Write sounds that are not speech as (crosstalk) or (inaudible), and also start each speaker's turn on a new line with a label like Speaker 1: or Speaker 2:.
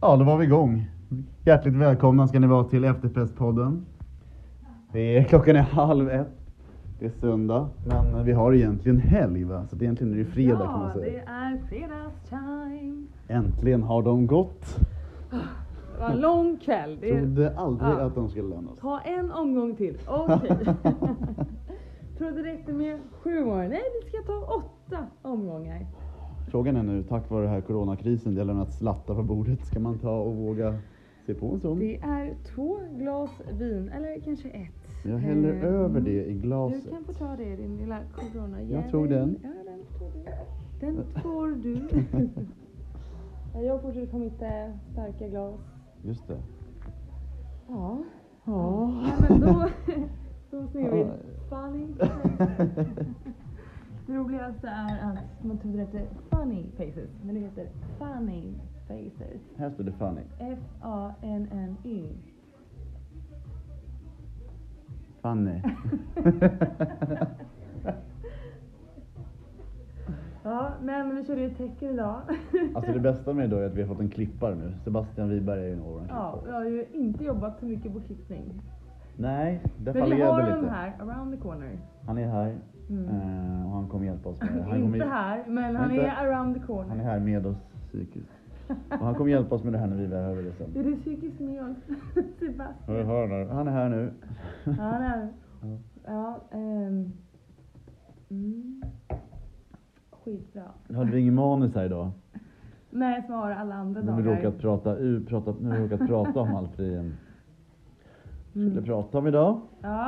Speaker 1: Ja, då var vi igång. Hjärtligt välkomna ska ni vara till Efterfestpodden. Det är, klockan är halv ett. Det är söndag, men vi har egentligen helg va? Så att egentligen är det fredag kan man
Speaker 2: Ja, det
Speaker 1: säga.
Speaker 2: är fredagstime.
Speaker 1: Äntligen har de gått.
Speaker 2: Det var en lång kväll. Det är...
Speaker 1: Trodde aldrig
Speaker 2: ja.
Speaker 1: att de skulle lämna oss.
Speaker 2: Ta en omgång till. Okej.
Speaker 1: (laughs)
Speaker 2: Trodde det räckte med sju år. Nej, vi ska ta åtta omgångar.
Speaker 1: Frågan är nu, tack vare den här coronakrisen, det har lämnat slattar på bordet. Ska man ta och våga se på en sån?
Speaker 2: Det är två glas vin, eller kanske ett.
Speaker 1: Jag häller
Speaker 2: Eh,
Speaker 1: över det i glaset.
Speaker 2: Du kan få ta det, din lilla corona
Speaker 1: Jag tog den.
Speaker 2: Ja, den tog du. Den får
Speaker 1: (laughs)
Speaker 2: du. Jag fortsätter på mitt eh, starka glas.
Speaker 1: (laughs) Just det.
Speaker 2: Ja. Ja. men då,
Speaker 1: (laughs)
Speaker 2: då ser vi.
Speaker 1: Ja.
Speaker 2: Funny Det roligaste är att man trodde det hette funny faces, men det heter funny faces.
Speaker 1: (laughs) Här står det Fanny.
Speaker 2: F-A-N-N-Y.
Speaker 1: Fanny.
Speaker 2: Ja, men vi körde ju tecken
Speaker 1: (laughs)
Speaker 2: idag.
Speaker 1: (laughs) Alltså det bästa med det då är att vi har fått en klippare nu. Sebastian Wiberg är ju en av våra
Speaker 2: Ja, vi
Speaker 1: klippare.
Speaker 2: har ju inte jobbat så mycket på klippning.
Speaker 1: Nej, där
Speaker 2: Men vi
Speaker 1: fallerade
Speaker 2: har
Speaker 1: det
Speaker 2: dem
Speaker 1: lite.
Speaker 2: här, around the corner.
Speaker 1: Han är här
Speaker 2: Mm. (laughs)
Speaker 1: eh, och han kommer hjälpa oss med det. Han kommer,
Speaker 2: inte här, men han
Speaker 1: Inte-
Speaker 2: är around the
Speaker 1: Han är
Speaker 2: corner.
Speaker 1: här med oss psykiskt. Och han kommer hjälpa oss med det här när vi behöver det sen.
Speaker 2: Är du psykiskt med oss, (laughs)
Speaker 1: Hör,
Speaker 2: Sebastian?
Speaker 1: hör, hör. Han är här nu.
Speaker 2: Ja, det är det.
Speaker 1: Ja.
Speaker 2: Ja, ehm. Mm. Skitbra.
Speaker 1: Nu hade vi ingen manus här idag.
Speaker 2: Nej, som jag har alla andra
Speaker 1: Nu har vi
Speaker 2: dagar.
Speaker 1: råkat prata,
Speaker 2: Mm.
Speaker 1: u, prata, nu har vi råkat prata om allt vi eh, skulle prata om idag.
Speaker 2: Ja,